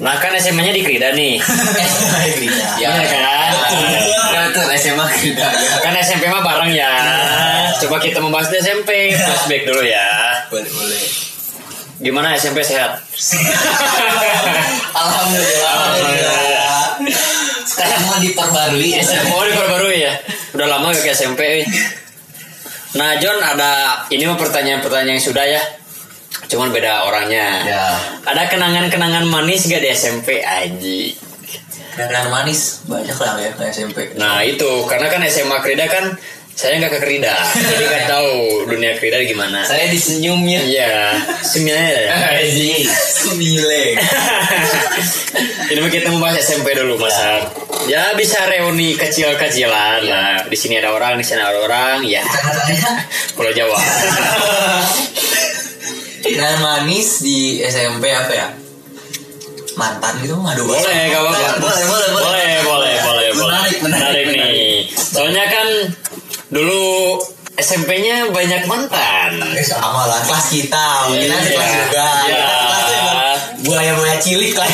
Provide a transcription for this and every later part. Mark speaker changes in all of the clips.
Speaker 1: Nah kan SMA-nya di Krida nih.
Speaker 2: Ya.
Speaker 1: Bener kan?
Speaker 2: Ya, betul SMA kita. Ya.
Speaker 1: Kan SMP mah bareng ya. Coba kita membahas di SMP. Flashback dulu ya.
Speaker 2: Boleh boleh.
Speaker 1: Gimana SMP sehat?
Speaker 2: Alhamdulillah.
Speaker 1: Alhamdulillah.
Speaker 2: Sekarang mau diperbarui SMA.
Speaker 1: Oh diperbarui ya. Udah lama gak ke SMP. eh. Nah John ada ini mah pertanyaan-pertanyaan yang sudah ya. Cuman beda orangnya.
Speaker 2: Ya.
Speaker 1: Ada kenangan-kenangan manis gak di SMP Aji?
Speaker 2: Kenangan manis banyak lah ya ke SMP.
Speaker 1: Nah itu karena kan SMA Krida kan saya nggak ke Krida, jadi nggak tahu dunia Krida gimana.
Speaker 2: Saya disenyumnya.
Speaker 1: Iya, semuanya.
Speaker 2: Aji. Semileng.
Speaker 1: Ini mah kita membahas SMP dulu masa. Ya bisa reuni kecil-kecilan lah. Di sini ada orang, di sana ada orang. Ya, kalau Jawa.
Speaker 2: Kenangan manis di SMP apa ya? Mantan gitu ngadu
Speaker 1: Boleh, nggak apa-apa.
Speaker 2: Boleh, boleh, boleh.
Speaker 1: Boleh, boleh, boleh, boleh.
Speaker 2: Menarik, menarik,
Speaker 1: nih. Soalnya kan dulu SMP-nya banyak mantan.
Speaker 2: Eh, sama lah kelas kita kita
Speaker 1: Iya.
Speaker 2: kelas juga
Speaker 1: Iya.
Speaker 2: Kita kelasnya emang buaya buaya cilik lah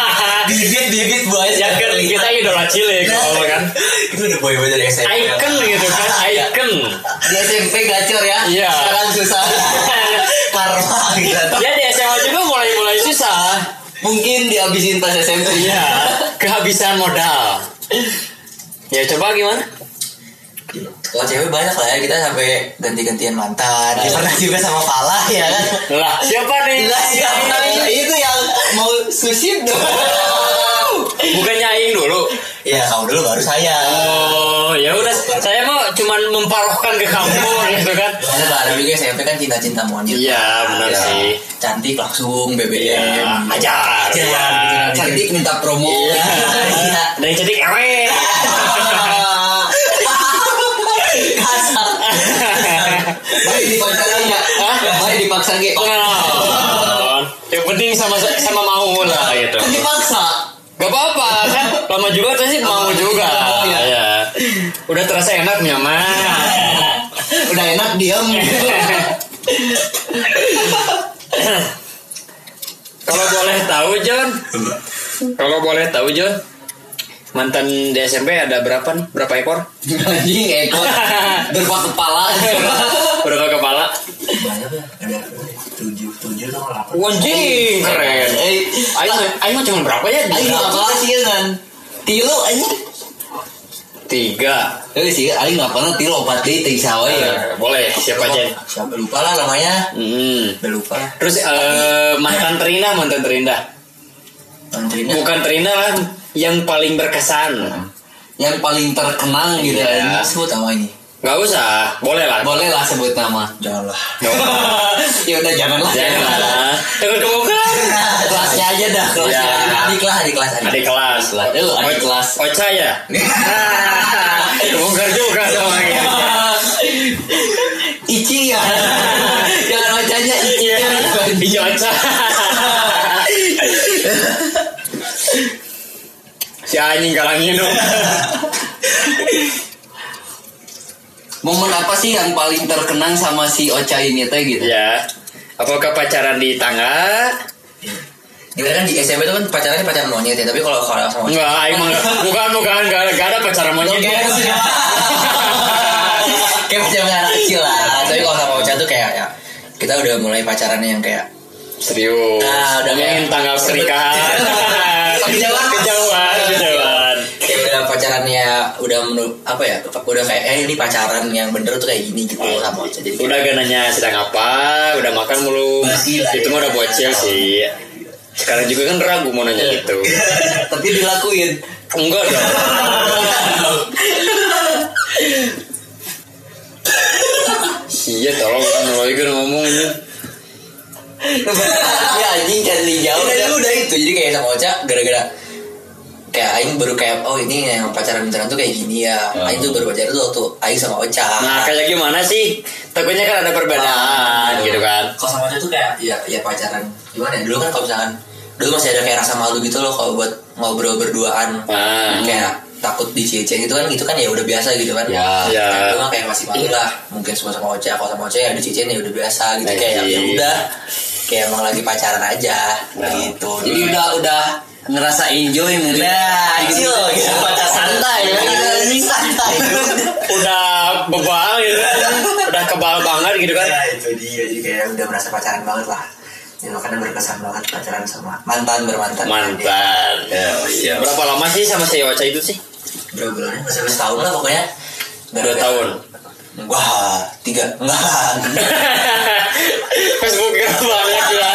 Speaker 2: bibit bibit buaya
Speaker 1: Ya kan
Speaker 2: cilik.
Speaker 1: kita idola cilik, kalau kan.
Speaker 2: Nah. itu udah buaya buaya dari SMP
Speaker 1: Icon gitu kan,
Speaker 2: Iya.
Speaker 1: icon.
Speaker 2: di SMP gacor ya
Speaker 1: Iya.
Speaker 2: sekarang susah karma gitu
Speaker 1: Ya di SMA juga mulai-mulai susah.
Speaker 2: mungkin dihabisin pas SMP
Speaker 1: Iya, kehabisan modal. Ya coba gimana?
Speaker 2: kalau cewek banyak lah ya kita sampai ganti-gantian mantan
Speaker 1: Iya.
Speaker 2: Ya, pernah juga sama Falah ya kan
Speaker 1: Lah, siapa nih?
Speaker 2: Gila, siapa nih? itu yang mau sushi dong
Speaker 1: Bukannya Aing dulu.
Speaker 2: ya kamu dulu baru saya
Speaker 1: Oh, ya udah saya mau cuman memparohkan ke kamu gitu kan.
Speaker 2: Soalnya Pak Aryo juga SMP kan cinta-cinta monyet
Speaker 1: Iya, benar
Speaker 2: Ya.
Speaker 1: sih.
Speaker 2: Cantik langsung BBM
Speaker 1: Iya, ajar.
Speaker 2: Ajar.
Speaker 1: Iya.
Speaker 2: Cantik minta promo
Speaker 1: Iya. Dari jadi ewe.
Speaker 2: Kasar Baik dipaksa enggak?
Speaker 1: Hah?
Speaker 2: Baik dipaksa enggak?
Speaker 1: Pengalaman. Nah, Yang penting sama sama mau lah gitu.
Speaker 2: Kan dipaksa
Speaker 1: Gak apa-apa kan lama juga pasti mau juga.
Speaker 2: Iya.
Speaker 1: Iya. Udah terasa enak nyaman.
Speaker 2: Udah enak diem
Speaker 1: Kalau boleh tahu John, kalau boleh tahu John, mantan di SMP ada berapa nih? Berapa ekor?
Speaker 2: Anjing ekor Berpak kepala
Speaker 1: Berapa kepala?
Speaker 2: Banyak ya Ada tujuh Tujuh sama delapan
Speaker 1: Anjing, keren.
Speaker 2: Eh,
Speaker 1: Ayo, ayo cuma berapa ya?
Speaker 2: Ayo apa sih kan Tilu anjing
Speaker 1: Tiga.
Speaker 2: Tapi sih, Aing nggak pernah tilu opat di ting sawe ya.
Speaker 1: Eh, boleh, siapa aja?
Speaker 2: Siapa lupa lah namanya.
Speaker 1: Hmm.
Speaker 2: Udah lupa.
Speaker 1: Terus eh, mantan terindah, mantan terindah.
Speaker 2: Menterinya.
Speaker 1: Bukan terindah lah, yang paling berkesan.
Speaker 2: Yang paling terkenang gitu
Speaker 1: Iya.
Speaker 2: ya. Sebut nama ini.
Speaker 1: Gak usah, boleh lah.
Speaker 2: Boleh lah sebut nama. Janganlah. ya udah janganlah.
Speaker 1: Jangan. Ya, Takut kebuka.
Speaker 2: Nah, kelasnya aja dah. Kelasnya
Speaker 1: Iya.
Speaker 2: aja. Adik lah, adik kelas adik.
Speaker 1: Adik kelas lah.
Speaker 2: Eh, lu adik
Speaker 1: O-
Speaker 2: kelas.
Speaker 1: Ocha ya? Bongkar juga sama gitu.
Speaker 2: Ici ya. Jangan wajahnya Ici.
Speaker 1: Iya. Iya Ocha. Si anjing kalang hidung.
Speaker 2: Momen apa sih yang paling terkenang sama si Ocha ini teh gitu?
Speaker 1: Ya. Apakah pacaran di tangga?
Speaker 2: Gila kan di SMP itu kan pacarannya pacaran monyet ya, tapi kalau kalau sama
Speaker 1: Enggak, aing mah bukan bukan enggak ada, enggak ada pacaran monyet.
Speaker 2: Kayak kayak pacaran anak kecil lah, tapi kalau sama Ocha tuh kayak ya kita udah mulai pacarannya yang kayak
Speaker 1: Serius.
Speaker 2: Nah, udah
Speaker 1: Ngomongin
Speaker 2: kayak-
Speaker 1: tanggal pernikahan.
Speaker 2: Kejauhan.
Speaker 1: Kejauhan, kejauhan.
Speaker 2: kayak udah pacarannya udah menurut apa ya udah kayak eh ini pacaran yang bener tuh kayak gini gitu sama Ocha jadi
Speaker 1: Udah gak nanya sedang apa, udah makan belum?
Speaker 2: Masih lah,
Speaker 1: Itu
Speaker 2: ya.
Speaker 1: mah udah bocil sih. Sekarang juga kan ragu mau nanya
Speaker 2: Iya.
Speaker 1: gitu.
Speaker 2: tapi dilakuin
Speaker 1: Enggak dong. iya tolong kan lo juga ngomong ini.
Speaker 2: ya anjing cari jauh udah Iya, udah itu jadi kayak sama Ocha gara-gara kayak Aing baru kayak oh ini yang pacaran beneran tuh kayak gini ya Aing tuh baru pacaran tuh waktu Aing sama Ocha
Speaker 1: Nah kayak gimana sih? Takutnya kan ada perbedaan gitu kan.
Speaker 2: kalau sama Ocha tuh kayak ya ya pacaran gimana ya dulu kan kalau misalkan dulu masih ada kayak rasa malu gitu loh kalau buat ngobrol berduaan
Speaker 1: Nah,
Speaker 3: Hmm.
Speaker 2: kayak takut dicece gitu kan gitu kan ya udah biasa gitu kan
Speaker 1: Ya. Ya.
Speaker 2: Kayak dulu mah
Speaker 3: Iya.
Speaker 2: kayak masih malu lah mungkin semua sama Ocha kalau sama Ocha ya dicecein ya udah biasa gitu
Speaker 1: Nah,
Speaker 2: kayak ya
Speaker 1: iya.
Speaker 2: udah kayak emang lagi pacaran aja gitu
Speaker 3: Ya. Jadi udah udah ngerasa enjoy mungkin.
Speaker 2: Nah, gitu loh, gitu. Pacar santai, ya. santai.
Speaker 1: udah bebal gitu kan. udah kebal banget gitu kan
Speaker 2: Ya, itu dia. Jadi kayak udah merasa pacaran banget lah. Ya, makanya berkesan banget pacaran sama mantan bermantan.
Speaker 1: mantan
Speaker 3: iya.
Speaker 1: berapa lama sih sama si Waca itu sih
Speaker 2: Berapa bulan? Masih masih tahun lah pokoknya.
Speaker 1: dua tahun
Speaker 2: Wah, tiga. Enggak.
Speaker 1: Facebooker banget ya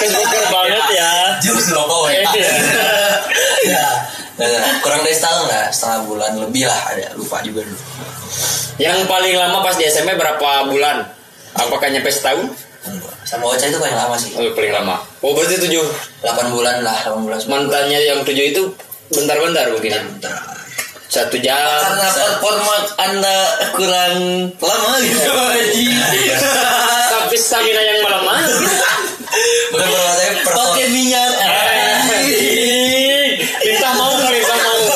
Speaker 1: Facebooker banget ya
Speaker 2: Jokes loh kau
Speaker 1: Iya.
Speaker 2: ya. Nah, nah, kurang dari setahun lah, setengah bulan lebih lah ada lupa juga dulu.
Speaker 1: yang paling lama pas di SMP berapa bulan apakah nyampe setahun
Speaker 2: Enggak. Sama Ocha itu paling lama sih,
Speaker 1: oh, paling lama oh berarti tujuh
Speaker 2: 8 bulan lah, 8 bulan.
Speaker 1: mantannya yang tujuh itu bentar-bentar mungkin ya? satu jam
Speaker 3: Karena performa Anda kurang
Speaker 1: eh,
Speaker 3: lama
Speaker 1: Iya.
Speaker 3: gitu Haji.
Speaker 2: Iya.
Speaker 1: tapi stamina yang melemah
Speaker 2: Bukan berarti perform. Iya.
Speaker 3: Pakai minyak.
Speaker 1: Eh, iya. minta mau minta mau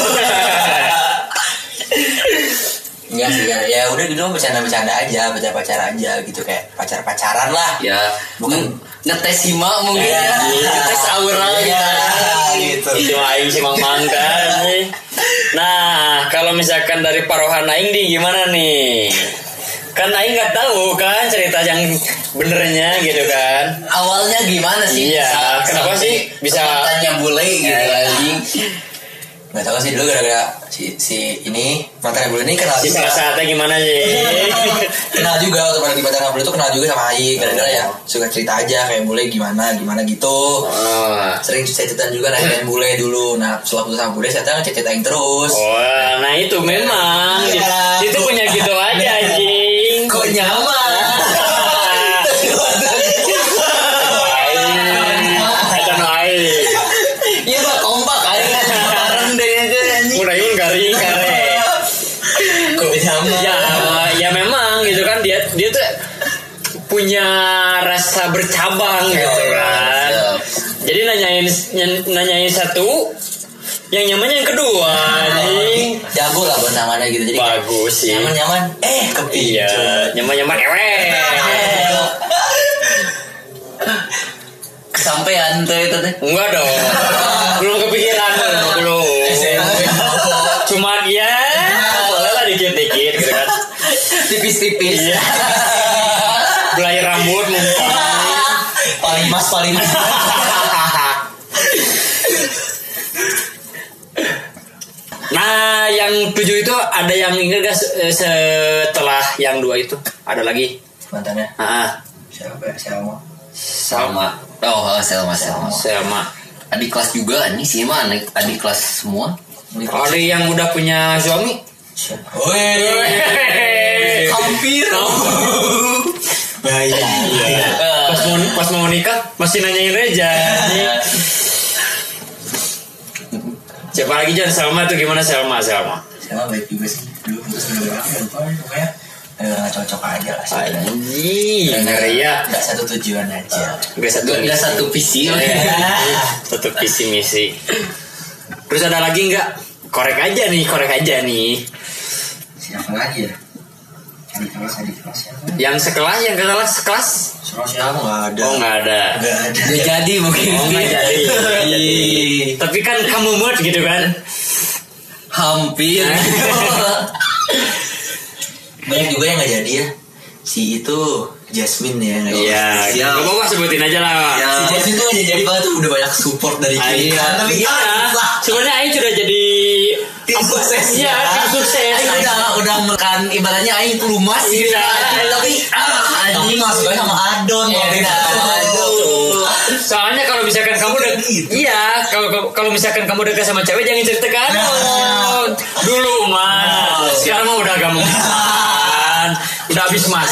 Speaker 2: Enggak sih, ya, ya udah dulu bercanda-bercanda aja, pacar-pacar aja gitu kayak pacar-pacaran lah.
Speaker 3: Ya,
Speaker 2: Bukan
Speaker 3: ngetes simak mungkin. ya.
Speaker 2: Iya.
Speaker 3: Ngetes aura
Speaker 2: Iya,
Speaker 3: gitu.
Speaker 1: itu
Speaker 2: gitu.
Speaker 1: aing sih mang mangkan nah kalau misalkan dari parohan aing di gimana nih kan aing nggak tahu kan cerita yang benernya gitu kan
Speaker 3: Awalnya gimana sih?
Speaker 1: Iya,
Speaker 3: Sa-
Speaker 1: kenapa
Speaker 3: sampai
Speaker 1: sih bisa- Iya.
Speaker 3: Tanya bule gitu anjing.
Speaker 2: Gak tau sih dulu gara-gara si, si ini mantan dulu ini kenal
Speaker 1: di
Speaker 2: juga.
Speaker 1: salah saatnya gimana sih
Speaker 2: kenal juga waktu pada di mantan dulu itu kenal juga sama Ayi gara-gara ya suka cerita aja kayak boleh gimana gimana gitu.
Speaker 1: oh,
Speaker 2: Sering cecetan juga naik bule dulu. Nah setelah putus sama bule saya tahu cecetan terus.
Speaker 1: Wah, nah itu memang
Speaker 2: Iya.
Speaker 1: itu punya gitu aja anjing
Speaker 2: Kok nyaman?
Speaker 1: Aing. Acan aing.
Speaker 3: Iya, Pak, kompak aja. Bareng deh
Speaker 2: ya,
Speaker 3: aja anjing.
Speaker 1: Mun aing garing karek.
Speaker 2: Kok nyaman?
Speaker 1: Ya, ya memang gitu kan dia dia tuh punya rasa bercabang gitu kan. Jadi nanyain nanyain satu yang nyamannya yang kedua anjing.
Speaker 2: Jago lah buat namanya gitu jadi kayak
Speaker 1: Bagus sih.
Speaker 2: nyaman-nyaman. Eh kepicu.
Speaker 1: Iya, nyaman-nyaman ewe.
Speaker 3: Kesampean tuh itu teh.
Speaker 1: Enggak dong. Belum kepikiran belum. Cuman ya boleh lah dikit-dikit gitu kan.
Speaker 3: Tipis-tipis.
Speaker 1: Iya. Belai rambut mungkin.
Speaker 2: paling mas paling mas.
Speaker 1: Nah, yang tujuh itu ada yang ingat gak se- eh, setelah yang dua itu? Ada lagi?
Speaker 2: Mantannya
Speaker 1: Ah,
Speaker 2: siapa? Siapa mau?
Speaker 1: Salma.
Speaker 3: Oh, oh, Selma, Selma.
Speaker 1: Salma.
Speaker 3: Adik kelas juga anjing sih mah adik, adik kelas semua.
Speaker 1: Ada yang udah punya suami?
Speaker 2: Woi,
Speaker 3: Hampir.
Speaker 2: baik. Iya.
Speaker 1: pas mau pas mau nikah masih nanyain Reja. Siapa lagi Jan Salma tuh gimana Salma Salma?
Speaker 2: Sama baik juga sih. Dulu putus udah berapa ya? Lupa pokoknya. Eh, nggak cocok aja lah sih.
Speaker 1: Anjing, ngeri ya.
Speaker 2: Nggak satu tujuan aja. Iya.
Speaker 1: Gak satu
Speaker 3: Gak ada satu
Speaker 1: Iya.
Speaker 3: visi.
Speaker 1: Satu visi misi. Terus ada lagi nggak? Korek aja nih, korek aja nih.
Speaker 2: Siapa lagi ya? Cari kelas, cari kelas siapa?
Speaker 1: Yang sekelas, yang kelas sekelas?
Speaker 2: Soal siapa nggak ada?
Speaker 1: Oh nggak ada.
Speaker 2: Nggak ada.
Speaker 3: Gak jadi mungkin.
Speaker 1: Oh nggak jadi. Tapi kan kamu mood gitu kan?
Speaker 3: Hampir.
Speaker 2: Banyak juga yang nggak jadi ya. Si itu Jasmine ya. nggak jadi.
Speaker 1: Iya.
Speaker 3: Siap.
Speaker 1: Gak apa-apa sebutin aja lah.
Speaker 2: Ya. Si Jasmine tuh nggak jadi banget tuh udah banyak support dari kita.
Speaker 1: Iya,
Speaker 2: Tapi ah,
Speaker 1: iya.
Speaker 2: lah.
Speaker 1: Sebenarnya Aing sudah jadi
Speaker 2: Tim sukses.
Speaker 1: Iya, tim sukses.
Speaker 3: Aing udah udah makan ibaratnya aing pelumas gitu.
Speaker 1: Iya.
Speaker 3: Tapi ah
Speaker 2: Tapi
Speaker 3: anjing.
Speaker 2: masuknya sama Adon.
Speaker 3: Iya,
Speaker 2: kalau beda.
Speaker 3: sama Adon.
Speaker 1: Soalnya kalau misalkan kamu udah
Speaker 2: Gitu.
Speaker 1: iya, kalau kalau- kalau misalkan kamu dekat sama cewek jangan cerita ke Anon. Dulu mah, sekarang mah udah gak mungkin. Udah habis mas.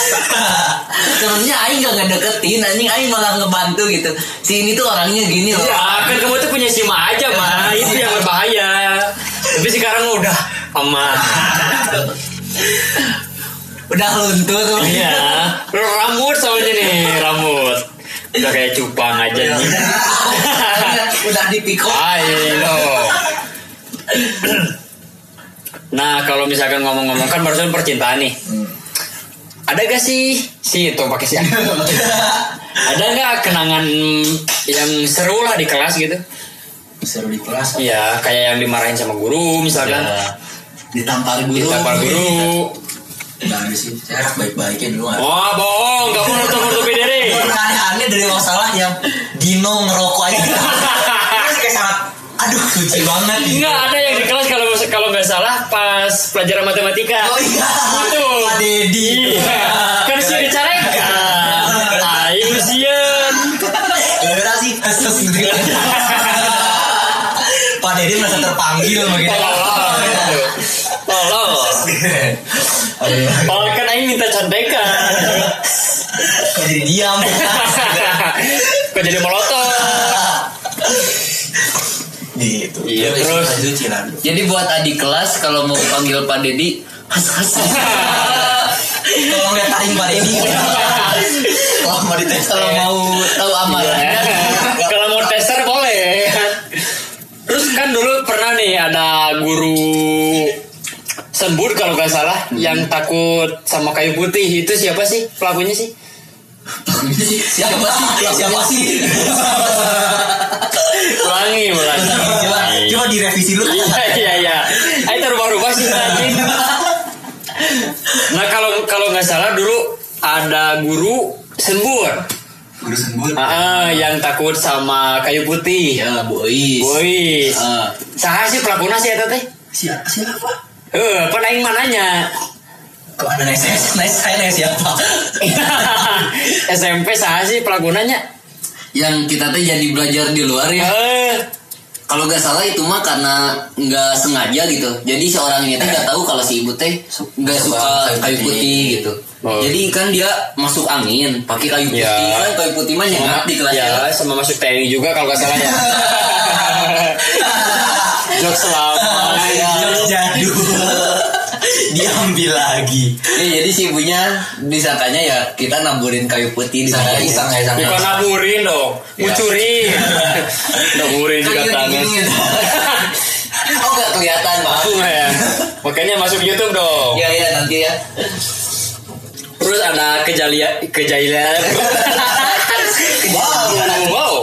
Speaker 3: Sebenarnya aing gak ngedeketin, anjing aing malah ngebantu gitu. Si ini tuh orangnya gini loh.
Speaker 2: Iya.
Speaker 1: Ya, kan kamu tuh punya sima aja mah, itu yang berbahaya. Tapi sekarang mah udah aman.
Speaker 3: Udah luntur.
Speaker 1: Iya, rambut soalnya nih rambut. Udah kayak cupang aja nih.
Speaker 3: udah dipikul.
Speaker 1: Ayo. Nah, kalau misalkan ngomong-ngomong kan barusan percintaan nih. ada gak sih si itu pakai si ada nggak kenangan yang seru lah di kelas gitu
Speaker 3: seru di kelas
Speaker 1: Iya, kayak yang dimarahin sama guru misalkan.
Speaker 3: ditampar guru
Speaker 1: Ditampar guru.
Speaker 2: Nggak ada sih Saya harus baik-baikin dulu kan
Speaker 1: Wah, bohong, kamu nutup-nutupi diri.
Speaker 3: aneh dari masalah yang Dino ngerokok aja Terus kayak sangat aduh suci banget
Speaker 1: Enggak ada yang di kelas kalau kalau nggak salah pas pelajaran matematika.
Speaker 3: oh iya
Speaker 1: Itu.
Speaker 3: Pak Deddy
Speaker 1: Iya. Kan sih dicarekan. Ayo sian.
Speaker 3: gara sih keses gitu Pak Deddy merasa terpanggil begitu
Speaker 1: Tolong. Tolong.
Speaker 3: Aduh,
Speaker 1: Tolong kan aing minta contekan.
Speaker 3: jadi diam
Speaker 1: Kok jadi molotov?
Speaker 2: Gitu
Speaker 1: Iya, terus.
Speaker 2: Lanjut Cilando
Speaker 3: jadi buat adik kelas kalau mau panggil Pak Deddy has has tolong liatin Pak Deddy gitu.
Speaker 2: Wah mau dites
Speaker 3: kalau mau "Eh, iya. tahu amalannya
Speaker 1: Kalau mau tester boleh. Terus kan dulu pernah nih ada guru sembur kalau nggak salah yang takut sama kayu putih itu siapa sih pelakunya sih?
Speaker 3: siapa sih siapa sih
Speaker 1: Ulangi, ulangi.
Speaker 3: coba coba direvisi dulu
Speaker 1: Iya iya iya. Ayo terubah-ubah sih nanti. Nah kalau kalau nggak salah dulu ada guru sembur
Speaker 2: Guru sembur
Speaker 1: Ah, yang takut sama kayu putih.
Speaker 3: ya boys
Speaker 1: Woi,
Speaker 3: Ah.
Speaker 1: saha sih pelakunya sih eta teh?
Speaker 2: Siapa? Siapa?
Speaker 1: Eh, penaing mananya?
Speaker 3: kok ada nice nice saya nice siapa
Speaker 1: SMP saya sih pelakunannya.
Speaker 3: yang kita tuh jadi belajar di luar ya
Speaker 1: Eh,
Speaker 3: kalau nggak salah itu mah karena nggak sengaja gitu jadi seorang ini tuh nggak tahu kalau si ibu teh nggak suka kayu putih gitu
Speaker 1: Oh.
Speaker 3: jadi kan dia masuk angin pakai kayu putih
Speaker 1: Ya.
Speaker 3: kan kayu putih mah nyengat di kelas ya.
Speaker 1: ya, sama masuk TNI juga kalau nggak salah ya. Jok selama.
Speaker 2: Jadul Diambil lagi
Speaker 3: Nih, Eh, jadi si ibunya disangkanya ya kita namburin kayu putih di sana
Speaker 2: Iseng ya iseng
Speaker 1: Bukan naburin dong, ngucurin. Iya. naburin juga tangan.
Speaker 3: oh nggak kelihatan maaf
Speaker 1: Tuh, ya. Makanya masuk YouTube dong.
Speaker 3: ya ya nanti ya
Speaker 1: Iya. Terus ada kejalia kejailan. wow, wow.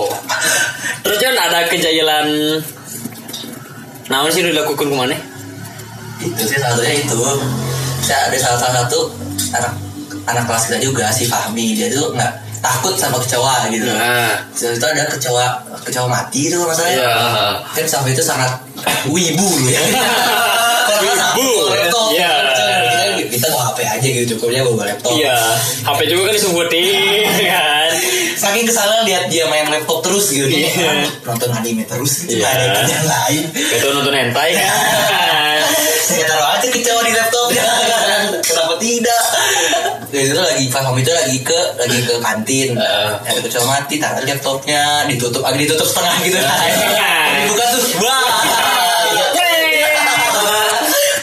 Speaker 1: Terus kan ada kejailan. Nah, sih dilakukan kemana?
Speaker 2: itu sih salah satunya itu saya ada salah salah satu anak anak kelas kita juga si Fahmi dia tuh nggak takut sama kecoa gitu
Speaker 1: Nah,
Speaker 2: Setelah itu ada kecoa kecoa mati itu masalahnya
Speaker 1: Iya.
Speaker 2: kan Fahmi itu sangat wibu dulu ya
Speaker 1: Wibu.
Speaker 2: laptop
Speaker 1: Iya.
Speaker 2: Kita- kita bawa HP aja gitu cukupnya bawa laptop
Speaker 1: Iya, HP juga kan disumbutin kan.
Speaker 2: saking kesalahan lihat dia main laptop terus gitu
Speaker 1: Iya.
Speaker 2: nonton anime terus gitu
Speaker 1: Iya.
Speaker 2: ada kerjaan lain
Speaker 1: Itu nonton hentai kan.
Speaker 2: saya taruh aja kecewa di laptopnya kenapa tidak Nah, itu lagi Pak Fahmi itu lagi ke lagi ke kantin
Speaker 1: Heeh.
Speaker 2: ada kecewa mati taruh aja laptopnya ditutup agak ditutup setengah gitu
Speaker 1: Heeh.
Speaker 2: dibuka tuh wah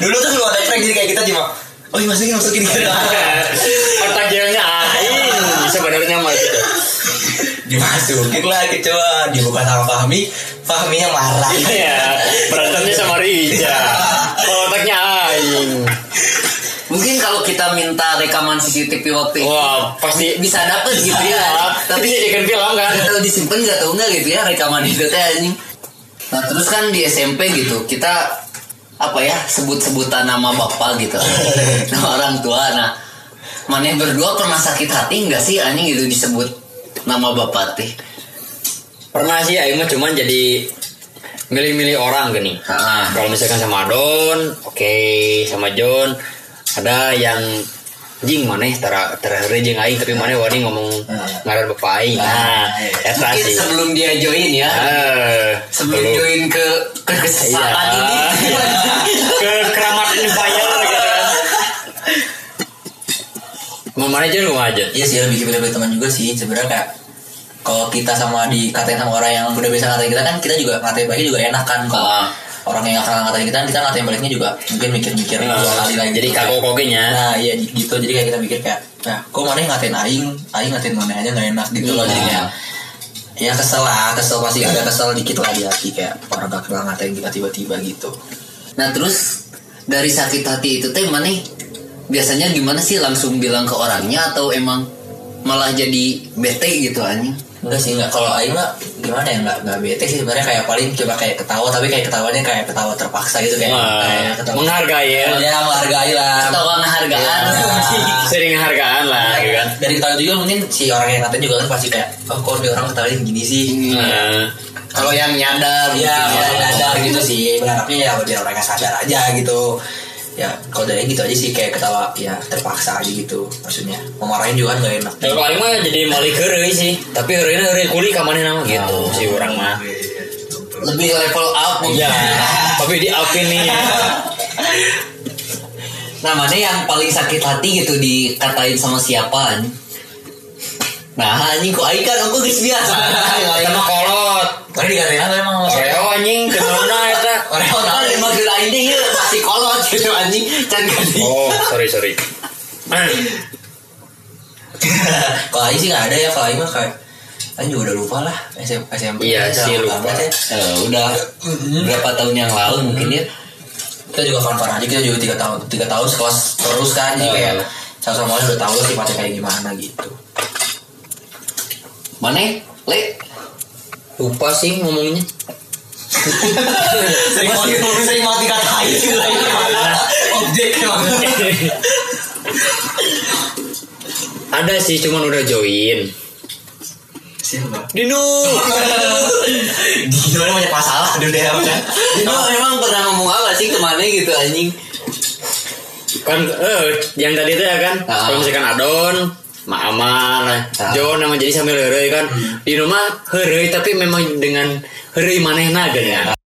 Speaker 2: dulu tuh belum ada prank jadi kayak kita cuma oh iya, masukin masukin gitu
Speaker 1: Otak jailnya aing ah, sebenarnya mah gitu.
Speaker 2: dimasukin lah kecewa dibuka sama Fahmi Fahminya marah
Speaker 1: Iya, berantemnya sama Rija. Kalau otaknya ah, aing.
Speaker 3: mungkin kalau kita minta rekaman CCTV waktu itu
Speaker 1: Wah, pasti
Speaker 3: bisa dapet gitu ya
Speaker 1: Iya, tapi
Speaker 3: tapi
Speaker 1: dijadikan film kan.
Speaker 3: nggak tahu disimpan nggak tahu nggak gitu ya rekaman itu teh anjing nah terus kan di SMP gitu kita apa ya sebut-sebutan nama bapak gitu nama orang tua nah maneh berdua pernah sakit hati nggak sih anjing gitu disebut nama bapak teh
Speaker 1: Pernah sih aing mah cuman jadi milih-milih orang gini.
Speaker 3: Ah.
Speaker 1: Kalau misalkan sama Don, oke, sama John, ada yang jing maneh tara tara heureuh jeung aing tapi maneh wani ngomong ngaran bapak aing. Nah, eta
Speaker 3: mungkin
Speaker 2: Iya.
Speaker 1: sih.
Speaker 3: sebelum dia join ya
Speaker 1: Eh,
Speaker 3: sebelum
Speaker 1: belum.
Speaker 3: join ke ke kesesatan
Speaker 1: Iya.
Speaker 3: ini
Speaker 1: ke keramat empire gitu kan. Mau mana aja lu aja.
Speaker 2: Iya sih lebih pilih-pilih teman juga sih sebenarnya kayak kalau kita sama dikatain sama orang yang udah biasa ngatain kita kan kita juga ngatain baiknya juga enak kan kalau
Speaker 1: Ah.
Speaker 2: orang yang nggak ngatain kita kita ngatain baliknya juga mungkin mikir-mikir
Speaker 1: Nah.
Speaker 2: dua kali lagi
Speaker 1: Jadi kagok kogenya.
Speaker 2: nah iya gitu jadi kayak kita mikir kayak nah kok mana yang ngatain aing aing ngatain mana aja nggak enak gitu loh jadi kayak ya kesel lah kesel pasti ada kesel dikit lah di hati kayak orang gak kenal ngatain kita tiba-tiba gitu
Speaker 3: Nah terus dari sakit hati itu teh mana biasanya gimana sih langsung bilang ke orangnya atau emang malah jadi bete gitu anjing
Speaker 2: Enggak sih, enggak. Kalau Aing mah gimana ya, enggak, enggak bete sih sebenarnya kayak paling coba kayak ketawa, tapi kayak ketawanya kayak ketawa terpaksa gitu kayak, kayak
Speaker 1: Nah,
Speaker 2: ketawa.
Speaker 1: menghargai ya.
Speaker 2: Ya menghargai lah.
Speaker 3: atau hargaan
Speaker 1: Iya.
Speaker 2: Ya.
Speaker 1: Sering hargaan lah gitu kan.
Speaker 2: Dari ketawa juga mungkin si orang yang katanya juga kan pasti kayak, oh kok dia orang ketawain gini sih.
Speaker 1: Nah,
Speaker 3: kalau yang nyadar
Speaker 2: Iya,
Speaker 3: gitu
Speaker 2: orang sadar gitu sih. Berharapnya ya biar orang yang sadar aja gitu. Ya kalau dari gitu aja sih kayak ketawa ya terpaksa aja gitu maksudnya. Memarahin juga kan gak enak.
Speaker 1: ya paling mah jadi malik heureuy sih. Tapi heureuy heureuy kuli ka manehna mah gitu si urang mah.
Speaker 3: lebih level up
Speaker 1: Iya.
Speaker 3: mungkin.
Speaker 2: Nah,
Speaker 1: Tapi di upin nih.
Speaker 3: nah mana yang paling sakit hati gitu dikatain sama siapa anjing? nah anjing kok aing kan aku geus biasa
Speaker 1: Eta mah kolot. Kan
Speaker 2: Tadi dikatain apa emang?
Speaker 1: Oreo anjing kenauna eta.
Speaker 3: Orang kan emang geus aing deh ieu masih kolot gitu anjing can gadi
Speaker 1: Oh, sorry sorry. Ah,
Speaker 2: kalau Aing sih nggak ada ya kalau Aing mah kayak Aing juga udah lupa lah SM, SMP
Speaker 1: Iya
Speaker 2: Udah
Speaker 1: sih,
Speaker 2: lama
Speaker 1: lupa.
Speaker 2: banget ya.
Speaker 3: Eh, udah berapa tahun yang lalu mungkin ya
Speaker 2: Mm-hmm. kita juga konfirm aja kita juga tiga tahun tiga tahun sekelas terus kan jadi
Speaker 1: Eh.
Speaker 2: kayak sama sama udah tahu lah sifatnya kayak gimana gitu
Speaker 3: mana le
Speaker 1: lupa sih ngomongnya.
Speaker 2: sering banget sering banget dikatain objek emang
Speaker 1: Ada sih cuman udah join.
Speaker 2: siapa
Speaker 1: Dino.
Speaker 2: gimana banyak masalah aduh deh udah
Speaker 3: Dino emang pernah ngomong apa sih kemana gitu anjing
Speaker 1: kan eh, yang tadi itu ya kan
Speaker 3: Ah.
Speaker 1: kalau misalkan adon mah aman lah
Speaker 3: Ah. Hmm.
Speaker 1: John emang jadi sambil heureuy kan di rumah heureuy tapi memang dengan heureuy manehna kan ya